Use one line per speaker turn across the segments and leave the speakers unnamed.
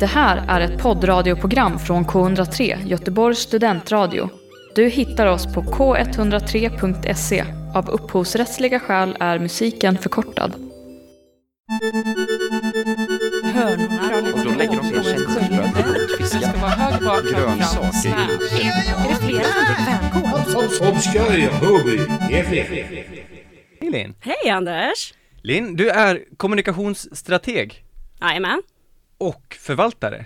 Det här är ett poddradioprogram från K103, Göteborgs studentradio. Du hittar oss på k103.se. Av upphovsrättsliga skäl är musiken förkortad.
Och då lägger de sina känselspröt runt fiskar. Grönsaker.
Obscure hobby.
Hej Linn!
Hej Anders!
Linn, du är kommunikationsstrateg
Jajamän.
och förvaltare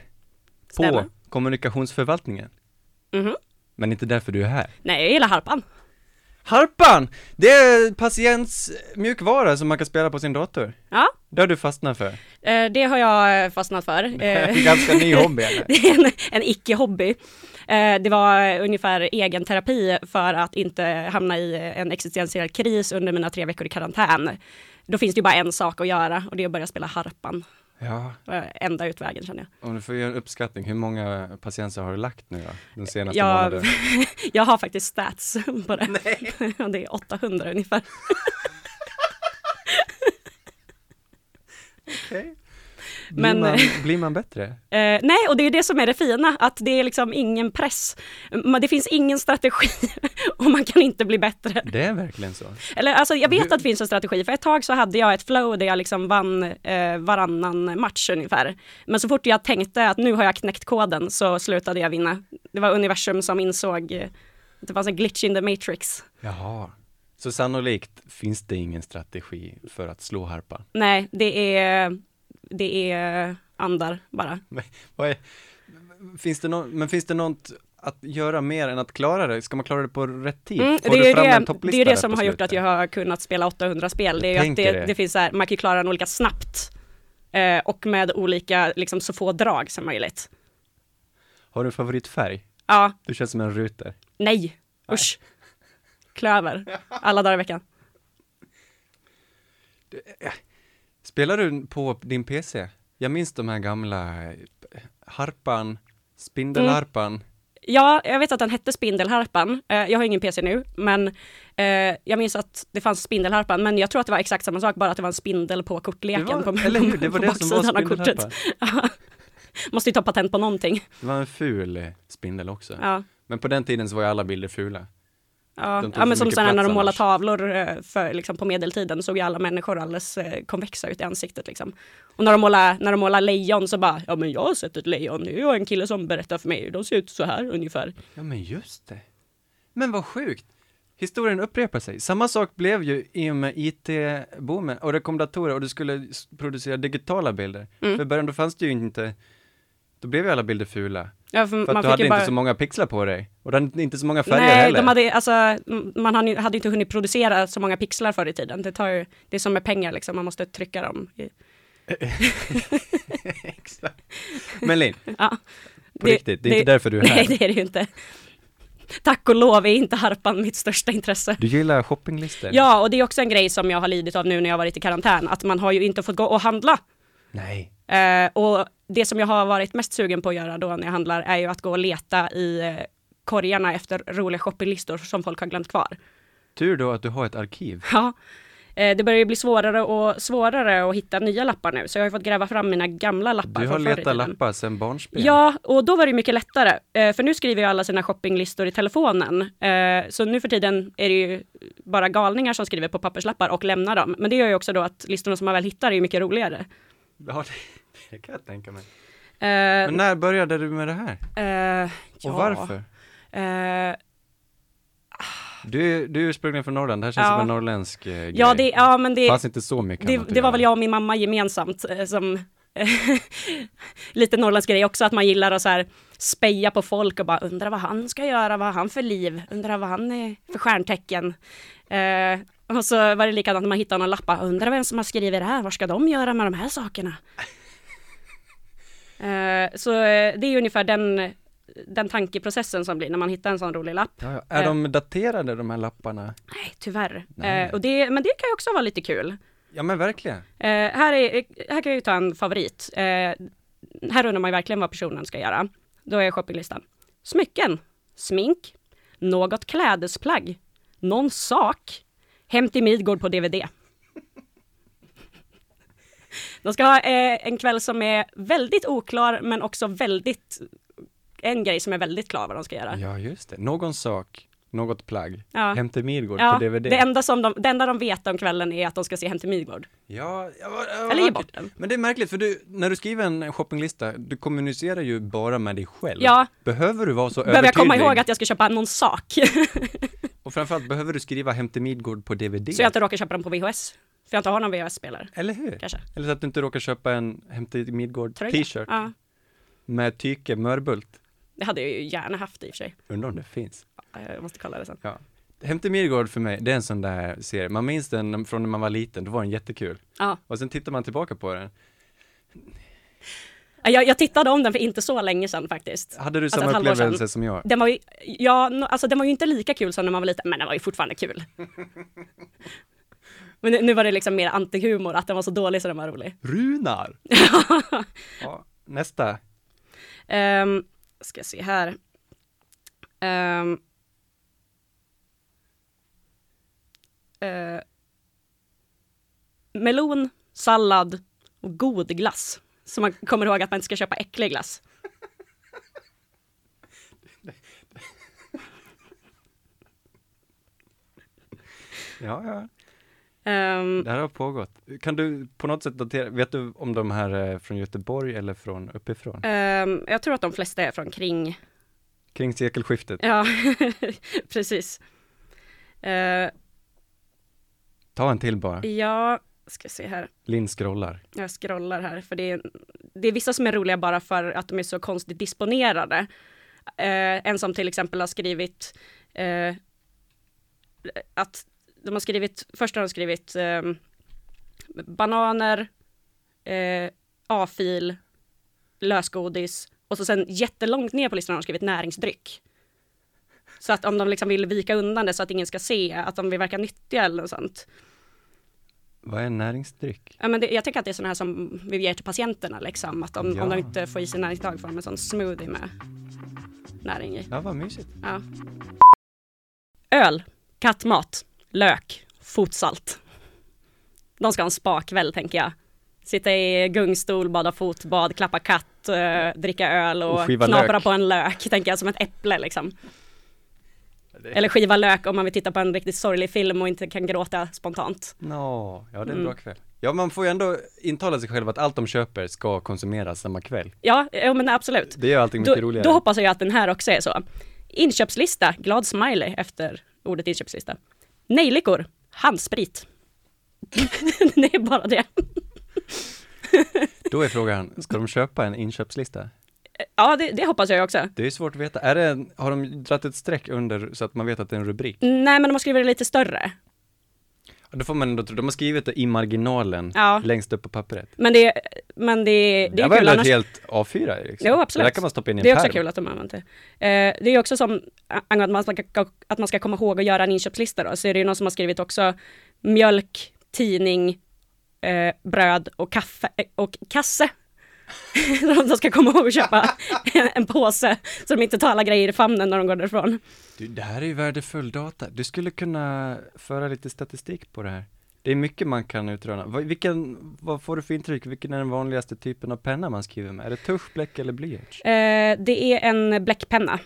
Stämmer.
på kommunikationsförvaltningen.
Mhm.
Men inte därför du är här.
Nej, jag gillar harpan.
Harpan! Det är patients mjukvara som man kan spela på sin dator.
Ja,
Det har du fastnat för.
eh, det har jag eh, fastnat för.
Det är
Eh,
en ganska ny hobby eller?
det är en, en icke-hobby. Eh, Det var ungefär egen terapi för att inte hamna i en existentiell kris under mina tre veckor i karantän. Då finns det ju bara en sak att göra och det är att börja spela harpan.
Ja,
Eh, Enda utvägen känner jag.
om du får göra en uppskattning, hur många patienter har du lagt nu då? De senaste
Jag,
månaderna?
jag har faktiskt stats på det. Ja, det är 800 ungefär.
Okej. Blir,
Men-
man, blir man bättre?
Eh, nej, och det är det som är det fina, att det är liksom ingen press. Man, det finns ingen strategi och man kan inte bli bättre.
Det är verkligen så.
Eller alltså, jag vet att det finns en strategi, för ett tag så hade jag ett flow där jag liksom vann eh, varannan match ungefär. Men så fort jag tänkte att nu har jag knäckt koden så slutade jag vinna. Det var universum som insåg eh, att det fanns en glitch in the matrix.
Jaha. Så sannolikt finns det ingen strategi för att slå harpan?
Nej, det är, det är andar bara.
Men, Vad är, finns det någon, men finns det något att göra mer än att klara det? Ska man klara det på rätt tid?
Mm,
Får
det,
du
är ju
fram en
det,
topplista
det är det
där
som
på
har gjort att
slutet?
jag har kunnat spela 800 spel. Det är
Jag
ju att
tänker
det,
det.
det finns så här, man kan ju klara den olika snabbt eh, och med olika, liksom så få drag som möjligt.
Har du en favoritfärg?
Ja,
Du känns som en ruter.
nej, usch. Klöver, alla dagar i veckan.
Spelar du på din PC? Jag minns de här gamla eh, harpan, spindelharpan.
Mm. Ja, jag vet att den hette Spindelharpan. Eh, jag har ingen PC nu, men eh, jag minns att det fanns Spindelharpan, men jag tror att det var exakt samma sak, bara att det var en spindel på kortleken
Det var-
på,
eller hur? Det var
på
det som var
baksidan av kortet. Måste ju ta patent på någonting.
Det var en ful eh, spindel också.
Ja.
Men på den tiden så var ju alla bilder fula.
Ja,
De tog
ja men
så
som
mycket
sådana när
plats
de målar
annars.
tavlor eh, för, liksom, på medeltiden såg ju alla människor alldeles eh, konvexa ut i ansiktet liksom. Och när de målar, när de målar lejon så bara, ja men jag har sett ett lejon, det är ju en kille som berättar för mig hur de ser ut så här ungefär.
Ja men just det. Men vad sjukt. Historien upprepar sig. Samma sak blev ju i och med IT-boomen och det kom datorer och du skulle s- producera digitala bilder.
Mm.
För i början då fanns det ju inte, då blev ju alla bilder fula.
Ja,
För att du hade inte så många pixlar på dig. Och du hade inte så många färger
Nej,
heller.
de hade, alltså, m- man hann ju- hade ju inte hunnit producera så många pixlar förr i tiden. Det, tar ju, det är som med pengar, liksom. man måste trycka dem. Eh, i-
Exakt. Men Lin,
Ja.
på riktigt, det är inte därför du är här.
Nej, det är det ju inte. Tack och lov är inte harpan mitt största intresse.
du gillar shoppinglistor?
Ja, och det är också en grej som jag har lidit av nu när jag har varit i karantän, att man har ju inte fått gå och handla.
Nej.
Eh, och det som jag har varit mest sugen på att göra då när jag handlar är ju att gå och leta i eh, korgarna efter roliga shoppinglistor som folk har glömt kvar.
Tur då att du har ett arkiv.
Ja. Eh, Det börjar ju bli svårare och svårare att hitta nya lappar nu, så jag har ju fått gräva fram mina gamla lappar
Du har
från förr i
letat
tiden.
lappar sedan barnsben.
Ja, och då var det ju mycket lättare, eh, för nu skriver ju alla sina shoppinglistor i telefonen. Eh, Så nu för tiden är det ju bara galningar som skriver på papperslappar och lämnar dem. Men det gör ju också då att listorna som man väl hittar är ju mycket roligare.
Ja, det, det kan jag tänka mig.
Eh,
Men när började du med det här?
eh, ja.
Och varför?
Eh,
Du, är- du är ursprungligen från Norrland, det här känns
Ja.
som en norrländsk eh, grej.
ja, det, ja, men det...
fanns inte så mycket
det,
annat att
det var väl
göra.
jag och min mamma gemensamt eh, som lite norrländsk grej också, att man gillar att så här speja på folk och bara undra vad han ska göra, vad har han för liv, undra vad han är för stjärntecken. Eh, och så var det likadant när man hittade någon lappa, undra vem som har skrivit det här, vad ska de göra med de här sakerna? Eh, så eh, det är ungefär den, den tankeprocessen som blir när man hittar en sån rolig lapp.
Ja, ja. Är
Eh.
de daterade de här lapparna?
Nej, tyvärr.
Nej.
Eh, och det, men det kan ju också vara lite kul.
Ja men verkligen.
Eh, här, är, här kan jag ju ta en favorit. Eh, här undrar man ju verkligen vad personen ska göra. Då är shoppinglistan. Smycken, smink, något klädesplagg, någon sak, hem till Midgård på DVD. De ska ha eh, en kväll som är väldigt oklar men också väldigt, en grej som är väldigt klar vad de ska göra.
Ja, just det. Någon sak, något plagg.
Ja.
Hem till Midgård
Ja,
på DVD.
det, enda som de, det enda de vet om kvällen är att de ska se Hem till Midgård.
Ja, ja, vad- ja, vad
Eller ge
vackert.
bort den.
Men det är märkligt, för du, när du skriver en shoppinglista, du kommunicerar ju bara med dig själv.
Ja.
Behöver du vara så
Behöver jag
övertydlig?
komma ihåg att jag ska köpa någon sak?
Och framförallt, behöver du skriva Hem till Midgård på DVD?
så jag inte råkar köpa den på VHS. För jag inte har någon VHS-spelare.
Eller hur?
Kanske.
Eller så att du inte råkar köpa en Hem till Midgård
Tröja.
t-shirt
Ja,
med tyke mörbult.
det hade jag ju gärna haft i och för sig.
Undrar om det finns.
Ja, Jag måste kolla det sen.
Ja. Hem till Midgård för mig, det är en sån där serie. Man minns den från när man var liten, då var den jättekul.
Ja.
Och sen tittar man tillbaka på den.
Ja, Jag, jag tittade om den för inte så länge sedan faktiskt.
Hade du
Alltså,
samma
ett halvår sedan.
upplevelse som jag?
Den var, ju, ja, no- alltså, den var ju inte lika kul som när man var liten, men den var ju fortfarande kul. Men nu- nu var det liksom mer antihumor, att den var så dålig så den var rolig.
Runar! ja, nästa.
Um, ska se här. Ehm. Eh. melon, sallad och god glass. Så man kommer ihåg att man inte ska köpa äcklig glass.
Ja, ja.
Ehm,
Det här har pågått. Kan du på något sätt datera, vet du om de här är från Göteborg eller från uppifrån?
ehm, jag tror att de flesta är från kring.
Kring sekelskiftet?
Ja, precis. Eh,
Ta en till bara.
ja, ska se här.
Linn scrollar.
Jag scrollar här, för det är, det är vissa som är roliga bara för att de är så konstigt disponerade. Eh, en som till exempel har skrivit eh, att de har skrivit, först har de skrivit eh, bananer, eh, A-fil, lösgodis och så sen jättelångt ner på listan har de skrivit näringsdryck. Så att om de liksom vill vika undan det så att ingen ska se, att de vill verka nyttiga eller något sånt.
Vad är näringsdryck?
Ja, men det, jag tänker att det är sådana här som vi ger till patienterna liksom. Att om, om
Ja.
de inte får i sig näringsdag får de en sån smoothie med näring i.
Ja, vad mysigt.
Ja. Öl, kattmat, lök, fotsalt. De ska ha en spakväll tänker jag. Sitta i gungstol, bada fotbad, klappa katt, eh, dricka öl och,
Och skiva
knapra
lök.
på en lök, tänker jag, som ett äpple liksom. Eller skiva lök om man vill titta på en riktigt sorglig film och inte kan gråta spontant.
Nå, ja det är en
Mm.
bra kväll. Ja, man får ju ändå intala sig själv att allt de köper ska konsumeras samma kväll.
Ja, ja men absolut.
Det gör allting mycket
då,
roligare.
Då hoppas jag att den här också är så. Inköpslista, glad smiley efter ordet inköpslista. Nejlikor, handsprit. det är bara det.
Då är frågan, ska de köpa en inköpslista?
Ja, det, det hoppas jag också.
Det är ju svårt att veta. Är det en, har de dratt ett streck under så att man vet att det är en rubrik?
Nej, men de har skrivit det lite större.
Ja, Då får man ändå tro, de har skrivit det i marginalen,
Ja.
längst upp på papperet.
Men det, men det, det
Det
är
var
kul
ändå
annars.
ett helt A4 liksom.
Jo, absolut.
Det där kan man stoppa in i en
Det är också
pärm.
kul att de använder det. Eh, det är också som a- angående att man, ska, att man ska komma ihåg att göra en inköpslista då, så är det ju någon som har skrivit också mjölk, tidning, eh, bröd och kaffe eh, och kasse. de ska komma ihåg att köpa en, en påse så de inte tar alla grejer i famnen när de går därifrån.
Du, det här är ju värdefull data. Du skulle kunna föra lite statistik på det här. Det är mycket man kan utröna. Vad- Vilken, vad får du för intryck? Vilken är den vanligaste typen av penna man skriver med? Är det tusch, bläck eller blyerts?
Eh, det är en bläckpenna,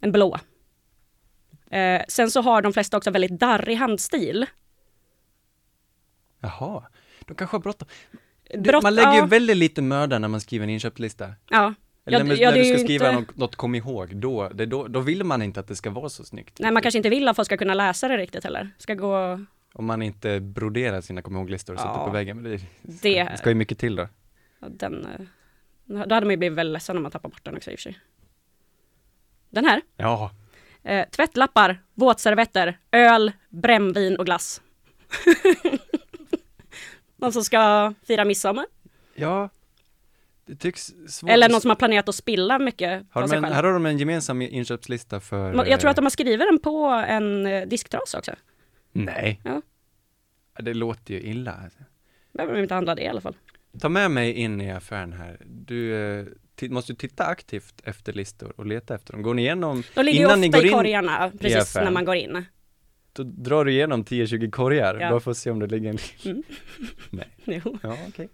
en blå. Eh, sen så har de flesta också väldigt darrig handstil.
Jaha, de kanske har bråttom. Du,
Brått-
man lägger ju
ja.
väldigt lite möda när man skriver en inköpslista.
Ja.
Eller
Ja,
när,
d- ja,
när
det är
du ska
ju
skriva
inte-
något, något kom ihåg, då, det, då, då vill man inte att det ska vara så snyggt.
Nej, man kanske inte vill att folk ska kunna läsa det riktigt heller. Ska gå
Om man inte broderar sina kom ihåg-listor och sätter
Ja.
på väggen. Men Det,
det.
det ska ju mycket till då.
Ja, Den, eh, då hade man ju blivit väldigt ledsen om man tappar bort den också i och för sig. Den här.
Ja,
Eh, tvättlappar, våtservetter, öl, brännvin och glass. någon som ska fira midsommar.
ja. Det tycks svårt
Eller
att-
någon som har planerat att spilla mycket
Har
på
de
sig
en,
själv.
här har de en gemensam inköpslista för...
Ma- Jag tror att de
eh,
har skrivit den på en eh, disktrasa också.
Nej.
Ja.
Det låter ju illa. alltså.
Behöver de inte handla det i alla fall.
Ta med mig in i affären här. Du eh, ti- måste ju titta aktivt efter listor och leta efter dem. Går ni igenom...
De ligger ju ofta
ni går
i
in
korgarna precis
affären.
när man går in.
Då drar du igenom 10-20 korgar,
Ja.
bara för att se om det ligger en
Mm.
Nej.
Jo.
Ja, okej.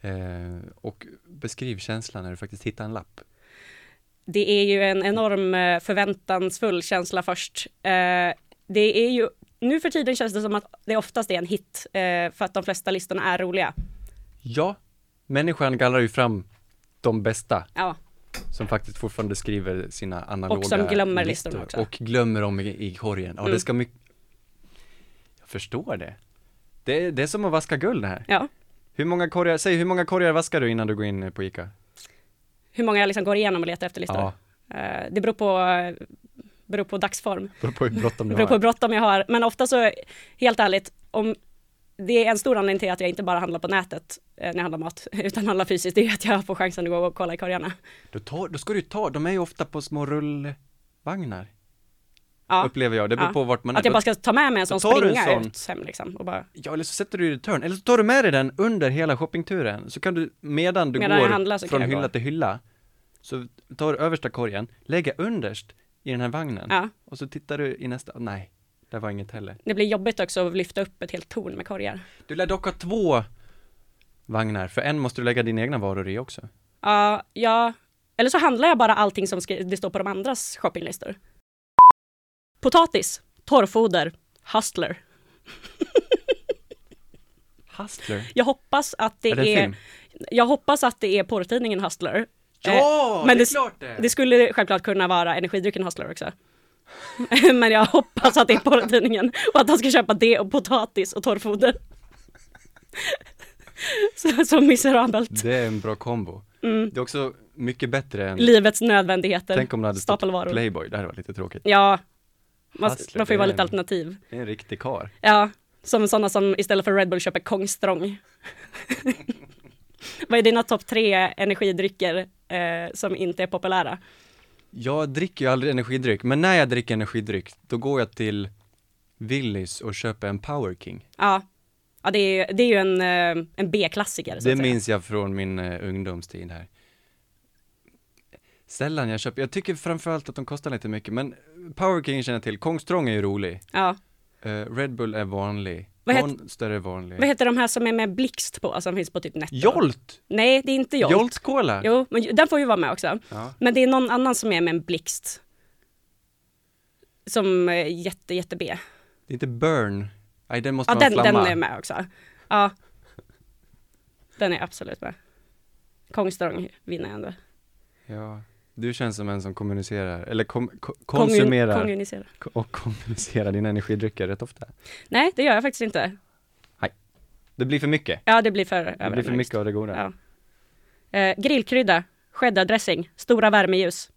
Eh, och beskriv känslan när du faktiskt hittar en lapp.
Det är ju en enorm eh, förväntansfull känsla först. Eh, Det är ju, nu för tiden känns det som att det oftast är en hit, eh, för att de flesta listorna är roliga.
Ja, människan gallrar ju fram de bästa
Ja,
som faktiskt fortfarande skriver sina analoga
Och som glömmer listorna också.
Och glömmer dem i, i korgen. Ja, det
Mm.
ska mycket... Jag förstår det. det. är- Det är som att vaska guld det här.
ja.
Hur många korgar, säg hur många korgar vaskar du innan du går in på ICA?
Hur många liksom går igenom och letar efter listor.
Ja,
Eh, Det beror på, beror på dagsform.
beror på hur bråttom
Det
du
beror på hur
har.
bråttom jag har. Men ofta så, helt ärligt, om det är en stor anledning till att jag inte bara handlar på nätet eh, när jag handlar mat, utan handlar fysiskt, det är att jag får chansen att gå och kolla i korgarna.
Då, tar, då ska du ju ta, de är ju ofta på små rullvagnar,
Ja.
upplever jag. Det beror
Ja.
på vart man är.
Att jag
Då-
bara ska ta med mig en sån
Då tar du en
springa
sån.
ut hem liksom. Och bara,
Ja, eller så sätter du i return, eller så tar du med dig den under hela shoppingturen, så kan du, medan du
Medan jag
går
handlar så kan
från
jag
hylla
gå.
till hylla, så tar du översta korgen, lägger underst i den här vagnen,
ja.
och så tittar du i nästa, nej, där var inget heller.
Det blir jobbigt också att lyfta upp ett helt torn med korgar.
Du lär dock ha två vagnar, för en måste du lägga dina egna varor i också.
Ja, ja. Eller så handlar jag bara allting som skri- det står på de andras shoppinglistor. Potatis, torrfoder, hustler.
Hustler,
Jag hoppas att det
är det
är, eh,
en film?
jag hoppas att det är porrtidningen Hustler.
Ja,
Eh, men
det är
det-
klart det!
Det skulle självklart kunna vara energidrycken Hustler också. Men jag hoppas att det är porrtidningen och att han ska köpa det och potatis och torrfoder. Så, så miserabelt.
Det är en bra kombo.
Mm.
Det är också mycket bättre än,
Livets nödvändigheter.
tänk om det hade stått
Stapelvaror.
Playboy, det hade varit lite tråkigt.
Ja, man,
Hustler,
man får ju
det
vara
är
lite
en-
alternativ.
Det är en riktig kar.
Ja, som sådana som istället för Red Bull köper Kongstrong. Vad är dina topp tre energidrycker eh, som inte är populära?
Jag dricker ju aldrig energidryck, men när jag dricker energidryck, då går jag till Willys och köper en Power King.
Ja, ja det, är, ju- det är ju en, eh, en B-klassiker. så
Det
att säga.
minns jag från min eh, ungdomstid här. Sällan jag köper, jag tycker framförallt att de kostar lite mycket, men Power King känner jag till, Kongstrong är ju rolig,
Ja.
Eh, Red Bull är vanlig,
Vad het-
Monster är vanlig.
Vad heter de här som är med blixt på, som finns på typ Netto?
Jolt!
Nej, det är inte Jolt.
Jolt Cola!
Jo, men ju- den får ju vara med också.
Ja.
Men det är någon annan som är med en blixt. Som eh, jätte, jätte B.
Det är inte Burn, nej den måste
Ja,
vara en
den, den
flamma.
är med också. Ja. Den är absolut med. Kongstrong vinner jag ändå.
Ja. Du känns som en som kommunicerar, eller kom, ko,
Kommun-
konsumerar
Kommunicera.
ko- och kommunicerar dina energidrycker rätt ofta.
Nej, det gör jag faktiskt inte.
Det blir för mycket.
Ja, det blir för
Det blir för mycket av det goda.
Ja. Eh, grillkrydda, cheddardressing, stora värmeljus.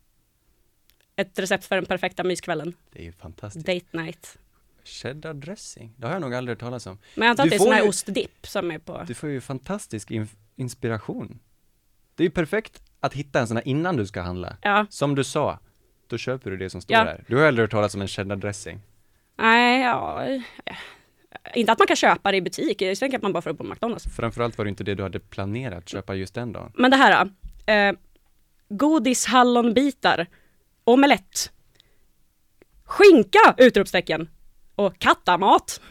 Ett recept för den perfekta myskvällen.
Det är ju fantastiskt.
Date night.
Cheddar dressing, det har jag nog aldrig hört talas om.
Men jag antar att
Du
det är
får
sån här
ju-
ostdipp som är på.
Du får ju fantastisk inf- inspiration. Det är ju perfekt att hitta en sån här innan du ska handla.
Ja,
Som du sa, då köper du det som står
Ja.
där. Du har aldrig hört talas om en cheddar dressing.
nej, ja. eh, Inte att man kan köpa det i butik, jag tänker att man bara får det på McDonalds.
Framförallt var det inte det du hade planerat att köpa just den dagen.
Men det här då. Eh, godis, hallonbitar, omelett, skinka! Utropstecken. Och kattamat.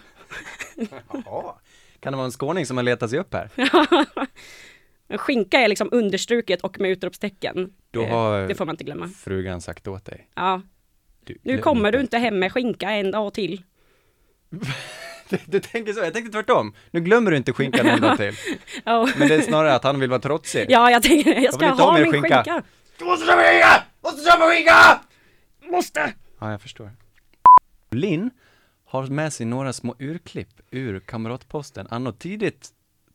Kan det vara en skåning som har letat sig upp här?
Men Skinka är liksom understruket och med utropstecken.
Då
Eh,
har-
Det får man inte glömma.
Frugan sagt åt dig.
Ja.
Du,
Nu kommer du inte hem med skinka en dag till.
Du, du tänker så, jag tänkte tvärtom. Nu glömmer du inte skinkan en dag till.
Ja.
Men det är snarare att han vill vara trotsig.
Ja, jag tänker jag ska
vill inte ha
ha
mer
min skinka.
skinka. Du måste köpa skinka! Måste köpa skinka!
Måste!
Ja, jag förstår. Linn har med sig några små urklipp ur Kamratposten anno tidigt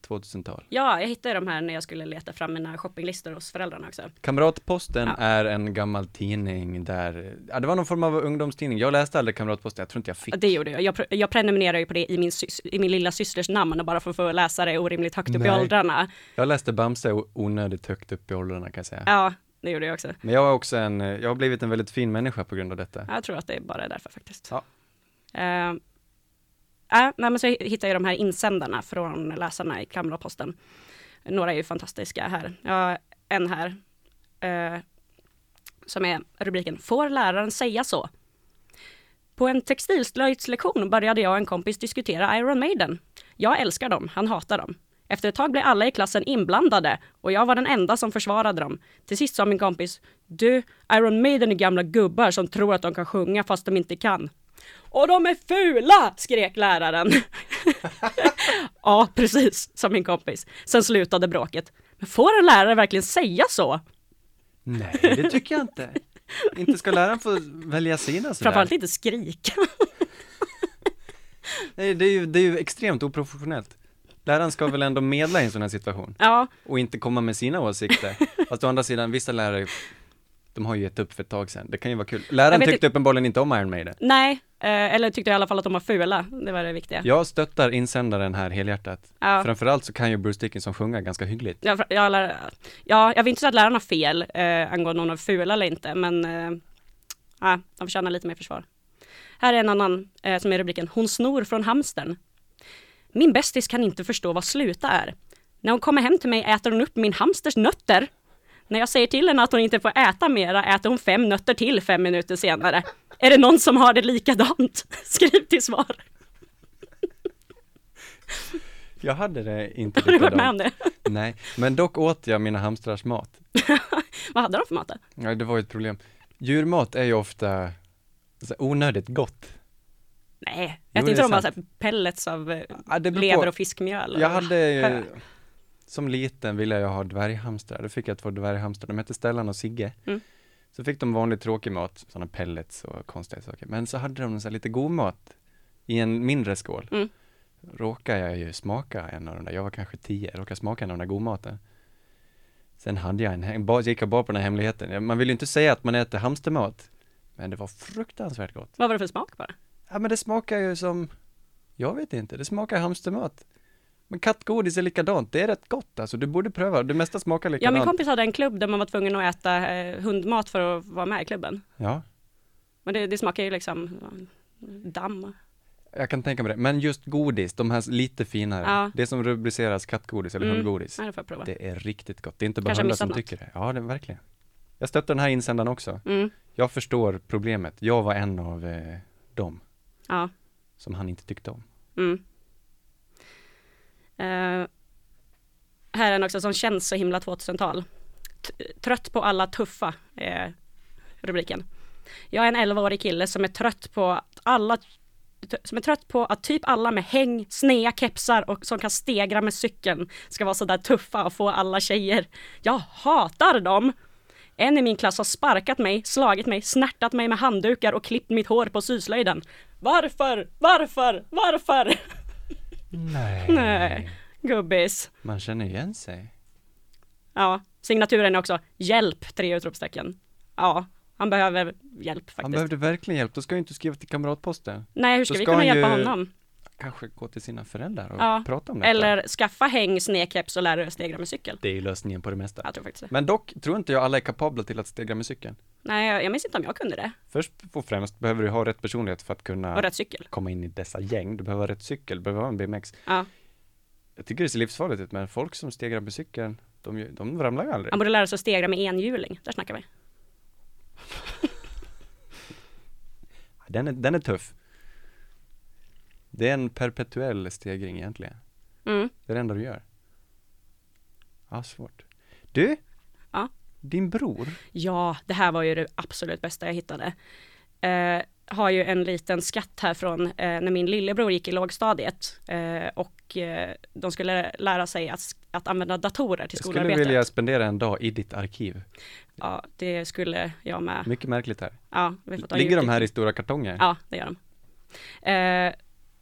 2000-tal.
Ja, jag hittade de här när jag skulle leta fram mina shoppinglistor hos föräldrarna också.
Kamratposten
Ja.
är en gammal tidning där, ja det var någon form av ungdomstidning. Jag läste aldrig Kamratposten, jag tror inte jag fick.
Ja, Det gjorde jag. Jag, pre- jag prenumererar ju på det i min, sys- i min lilla systers namn och bara för att få läsa det orimligt högt upp i
Nej.
åldrarna.
Jag läste Bamse o- onödigt högt upp i åldrarna kan jag säga.
Ja, det gjorde jag också.
Men jag är också en, eh, jag har blivit en väldigt fin människa på grund av detta.
Jag tror att det bara är därför faktiskt.
Ja.
Eh, äh, nej, men så hittar jag de här insändarna från läsarna i Kamraposten. Några är ju fantastiska här. Ja, en här. eh, som är rubriken Får läraren säga så? På en textilslöjdslektion började jag och en kompis diskutera Iron Maiden. Jag älskar dem, han hatar dem. Efter ett tag blev alla i klassen inblandade och jag var den enda som försvarade dem. Till sist sa min kompis, du, Iron Maiden är gamla gubbar som tror att de kan sjunga fast de inte kan. Och de är fula! skrek läraren. ja, precis, sa min kompis. Sen slutade bråket. Men får en lärare verkligen säga så?
Nej, det tycker jag inte. Inte ska läraren få välja sina sådär.
Framförallt inte skrika.
Nej, det är ju, det är ju extremt oprofessionellt. Läraren ska väl ändå medla i en sån här situation
Ja,
och inte komma med sina åsikter. Fast å andra sidan, vissa lärare, de har ju gett upp för ett tag sedan. Det kan ju vara kul.
Jag
Läraren
vet
tyckte uppenbarligen inte om Iron Maiden.
nej, eh, eller tyckte jag i alla fall att de var fula. Det var det viktiga.
Jag stöttar insändaren här helhjärtat.
Ja.
Framförallt så kan ju Bruce Dickinson sjunga ganska hyggligt.
Jag, jag, lär, ja, jag vill inte säga att lärarna har fel eh, angående om de är fula eller inte, men eh, ja, de förtjänar lite mer försvar. Här är en annan eh, som är rubriken Hon snor från hamstern. Min bästis kan inte förstå vad sluta är. När hon kommer hem till mig äter hon upp min hamsters nötter. När jag säger till henne att hon inte får äta mera äter hon fem nötter till fem minuter senare. Är det någon som har det likadant? Skriv till svar.
Jag hade det inte
Har du varit
likadant.
med om det?
Nej, men dock åt jag mina hamstrars mat.
Vad hade de för mat? då?
Ja, det var ju ett problem. Djurmat är ju ofta så här onödigt gott.
Nej,
Jo,
jag
det
inte
är
de bara
sant.
så här pellets av eh,
Ja, det beror på.
lever och fiskmjöl?
Jag hade ju,
Hö.
som liten ville jag ha dvärghamstrar, då fick jag två dvärghamstrar, de hette Stellan och Sigge.
Mm.
Så fick de vanlig tråkig mat, sådana pellets och konstiga saker, men så hade de så här lite god mat i en mindre skål.
Mm.
Råkade jag ju smaka en av de där, jag var kanske tio, råkade smaka en av den där godmaten. Sen hade jag en, en bar, gick jag bara på den här hemligheten, man vill ju inte säga att man äter hamstermat, men det var fruktansvärt gott.
Vad var det för smak bara?
Ja men det smakar ju som, jag vet inte, det smakar hamstermat. Men kattgodis är likadant, det är rätt gott alltså, du borde pröva, det mesta smakar
Ja,
likadant.
min kompis hade en klubb där man var tvungen att äta eh, hundmat för att vara med i klubben.
Ja,
Men det, det smakar ju liksom eh, damm.
jag kan tänka mig det, men just godis, de här lite finare,
Ja.
det som rubriceras kattgodis eller
Mm.
hundgodis,
Nej, det får jag prova.
det är riktigt gott, det är inte bara
Kanske har
hundar som
missat något.
tycker det. Ja, det verkligen. Jag stöttar den här insändaren också.
Mm,
Jag förstår problemet, jag var en av eh, dem
ja,
som han inte tyckte om.
mm. Eh, här är en också som känns så himla 2000-tal. T- trött på alla tuffa, eh, är rubriken. Jag är en 11-årig kille som är trött på att alla som är trött på att typ alla med häng, snea kepsar och som kan stegra med cykeln ska vara sådär tuffa och få alla tjejer. Jag hatar dem! En i min klass har sparkat mig, slagit mig, snärtat mig med handdukar och klippt mitt hår på syslöjden. Varför? Varför? Varför?
Nej.
Nej, gubbis.
Man känner igen sig.
Ja, signaturen är också hjälp, tre utropstecken. Ja, han behöver hjälp faktiskt.
Han behövde verkligen hjälp, då ska jag inte skriva till kamratposten.
Nej, hur
Då
ska vi
ska
kunna
han ju-
hjälpa honom?
kanske gå till sina föräldrar och
Ja,
prata om detta.
Eller skaffa häng, snedkeps och lära dig att stegra med cykel.
Det är ju lösningen på det mesta.
Jag tror faktiskt det.
Men dock tror inte jag alla är kapabla till att stegra med cykeln.
Nej, jag jag minns inte om jag kunde det.
Först och främst behöver du ha rätt personlighet för att kunna
Och rätt cykel.
komma in i dessa gäng. Du behöver ha rätt cykel, du behöver ha en BMX.
Ja.
Jag tycker det ser livsfarligt ut, men folk som stegrar med cykeln, de, ju- de ramlar ju aldrig.
Han borde lära sig att stegra med enhjuling. Där snackar vi.
Den är, den är tuff. Det är en perpetuell stegring egentligen.
Mm.
Det är det enda du gör. Ja, svårt. Du?
Ja.
Din bror?
Ja, det här var ju det absolut bästa jag hittade. Eh, har ju en liten skatt här från eh, när min lillebror gick i lågstadiet eh, och eh, de skulle lära sig att, att använda datorer till
Jag skulle
skolarbetet.
vilja spendera en dag i ditt arkiv.
Ja, det skulle jag med.
Mycket märkligt här.
Ja, vi får ta en
Ligger de
djupdyk.
här i stora kartonger?
Ja, det gör de. Eh,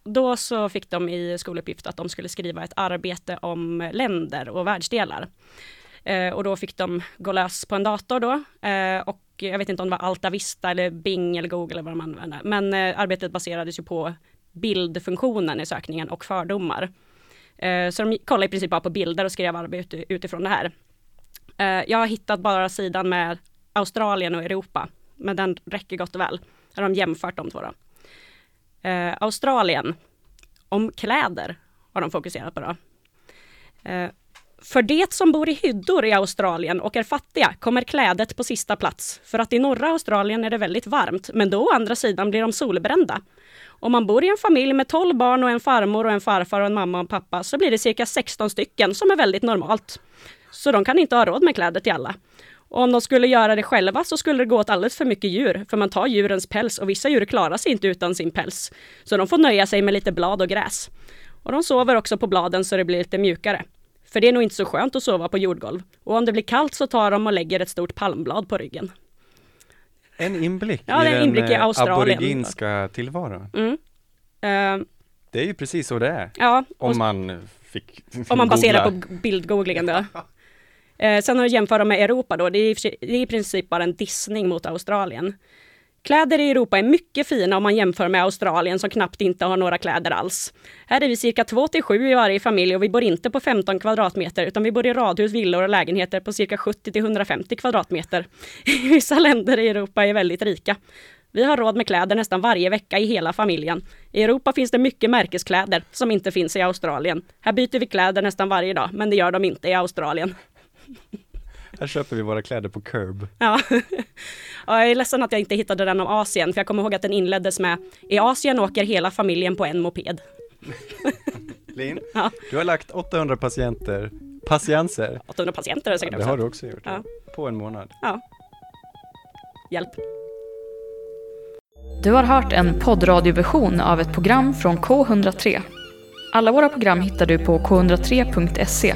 då så fick de i skoluppgift att de skulle skriva ett arbete om länder och världsdelar. Eh, och då fick de gå lös på en dator då. Eh, och jag vet inte om det var Alta Vista eller Bing eller Google eller vad de använde. Men eh, arbetet baserades ju på bildfunktionen i sökningen och fördomar. Eh, så de kollade i princip bara på bilder och skrev arbete utifrån det här. Eh, jag har hittat bara sidan med Australien och Europa, men den räcker gott och väl. Här har de jämfört de två då. Eh, Australien, om kläder har de fokuserat på då. Eh, För det som bor i hyddor i Australien och är fattiga kommer klädet på sista plats. För att i norra Australien är det väldigt varmt, men då å andra sidan blir de solbrända. Om man bor i en familj med 12 barn och en farmor och en farfar och en mamma och en pappa så blir det cirka 16 stycken som är väldigt normalt. Så de kan inte ha råd med kläder till alla. Och om de skulle göra det själva så skulle det gå åt alldeles för mycket djur, för man tar djurens päls och vissa djur klarar sig inte utan sin päls. Så de får nöja sig med lite blad och gräs. Och de sover också på bladen så det blir lite mjukare. För det är nog inte så skönt att sova på jordgolv. Och om det blir kallt så tar de och lägger ett stort palmblad på ryggen.
En inblick
Ja, det
i
är en
den
inblick i
eh,
Australien.
aboriginska tillvaron.
Mm. Eh,
Det är ju precis så det är.
ja, och
Om man fick
Om man baserar
googla.
på bildgoogling då. Eh, sen har du jämföra med Europa då, det är, i och för sig- det är i princip bara en dissning mot Australien. Kläder i Europa är mycket fina om man jämför med Australien som knappt inte har några kläder alls. Här är vi cirka 2 till 7 i varje familj och vi bor inte på 15 kvadratmeter utan vi bor i radhus, villor och lägenheter på cirka 70 till 150 kvadratmeter. Vissa länder i Europa är väldigt rika. Vi har råd med kläder nästan varje vecka i hela familjen. I Europa finns det mycket märkeskläder som inte finns i Australien. Här byter vi kläder nästan varje dag, men det gör de inte i Australien.
Här köper vi våra kläder på Curb.
Ja. ja, jag är ledsen att jag inte hittade den om Asien, för jag kommer ihåg att den inleddes med I Asien åker hela familjen på en moped.
Lin,
Ja.
du har lagt 800 patienter, patienser,
800 patienter har jag säkert
det
också.
har du också gjort,
Ja.
på en månad.
Ja. Hjälp.
Du har hört en poddradioversion av ett program från K103. Alla våra program hittar du på k103.se.